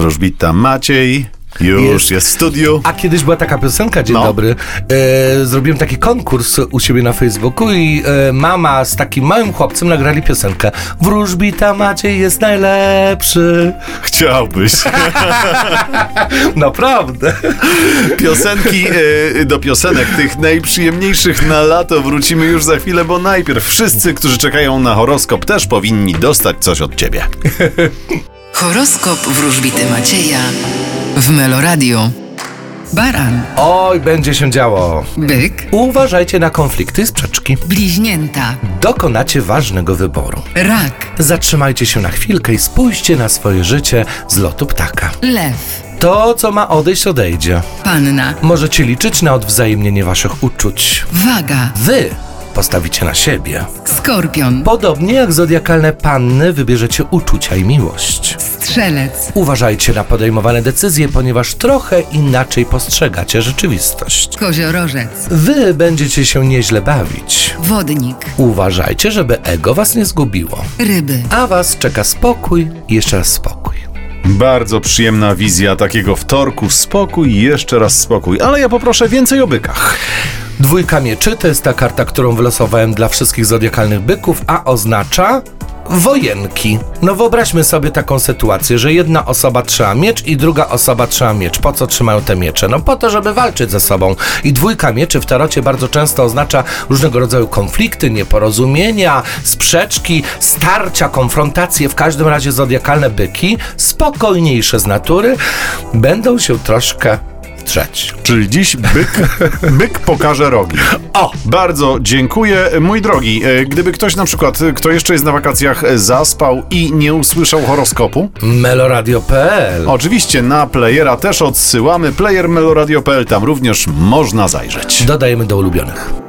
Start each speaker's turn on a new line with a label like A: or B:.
A: Wróżbita Maciej. Już jest,
B: Jest.
A: w studiu.
B: A kiedyś była taka piosenka, dzień
A: No.
B: dobry. E, zrobiłem taki konkurs u siebie na Facebooku i e, mama z takim małym chłopcem nagrali piosenkę. Wróżbita Maciej jest najlepszy.
A: Chciałbyś.
B: Naprawdę.
A: Piosenki y, do piosenek tych najprzyjemniejszych na lato wrócimy już za chwilę, bo najpierw wszyscy, którzy czekają na horoskop, też powinni dostać coś od ciebie.
C: Horoskop wróżbity Macieja w Meloradio. Baran,
B: Oj, będzie się działo.
C: byk,
B: Uważajcie na konflikty i sprzeczki.
C: bliźnięta,
B: Dokonacie ważnego wyboru.
C: rak,
B: Zatrzymajcie się na chwilkę i spójrzcie na swoje życie z lotu ptaka.
C: lew,
B: To, co ma odejść, odejdzie.
C: panna,
B: Możecie liczyć na odwzajemnienie waszych uczuć.
C: waga,
B: Wy postawicie na siebie.
C: skorpion,
B: Podobnie jak zodiakalne panny, wybierzecie uczucia i miłość.
C: strzelec,
B: Uważajcie na podejmowane decyzje, ponieważ trochę inaczej postrzegacie rzeczywistość.
C: koziorożec,
B: Wy będziecie się nieźle bawić.
C: wodnik,
B: Uważajcie, żeby ego was nie zgubiło.
C: ryby.
B: A was czeka spokój i jeszcze raz spokój.
A: Bardzo przyjemna wizja takiego wtorku. Spokój, jeszcze raz spokój. Ale ja poproszę więcej o bykach.
B: Dwójka mieczy to jest ta karta, którą wylosowałem dla wszystkich zodiakalnych byków, a oznacza wojenki. No wyobraźmy sobie taką sytuację, że jedna osoba trzyma miecz i druga osoba trzyma miecz. Po co trzymają te miecze? No po to, żeby walczyć ze sobą. I dwójka mieczy w tarocie bardzo często oznacza różnego rodzaju konflikty, nieporozumienia, sprzeczki, starcia, konfrontacje. W każdym razie zodiakalne byki, spokojniejsze z natury, będą się troszkę trzeć.
A: Czyli dziś byk, byk pokaże rogi.
B: O!
A: Bardzo dziękuję. Mój drogi, e, gdyby ktoś na przykład, e, kto jeszcze jest na wakacjach, e, zaspał i nie usłyszał horoskopu,
B: meloradio.pl
A: oczywiście na playera też odsyłamy. Player meloradio.pl, tam również można zajrzeć.
B: Dodajemy do ulubionych.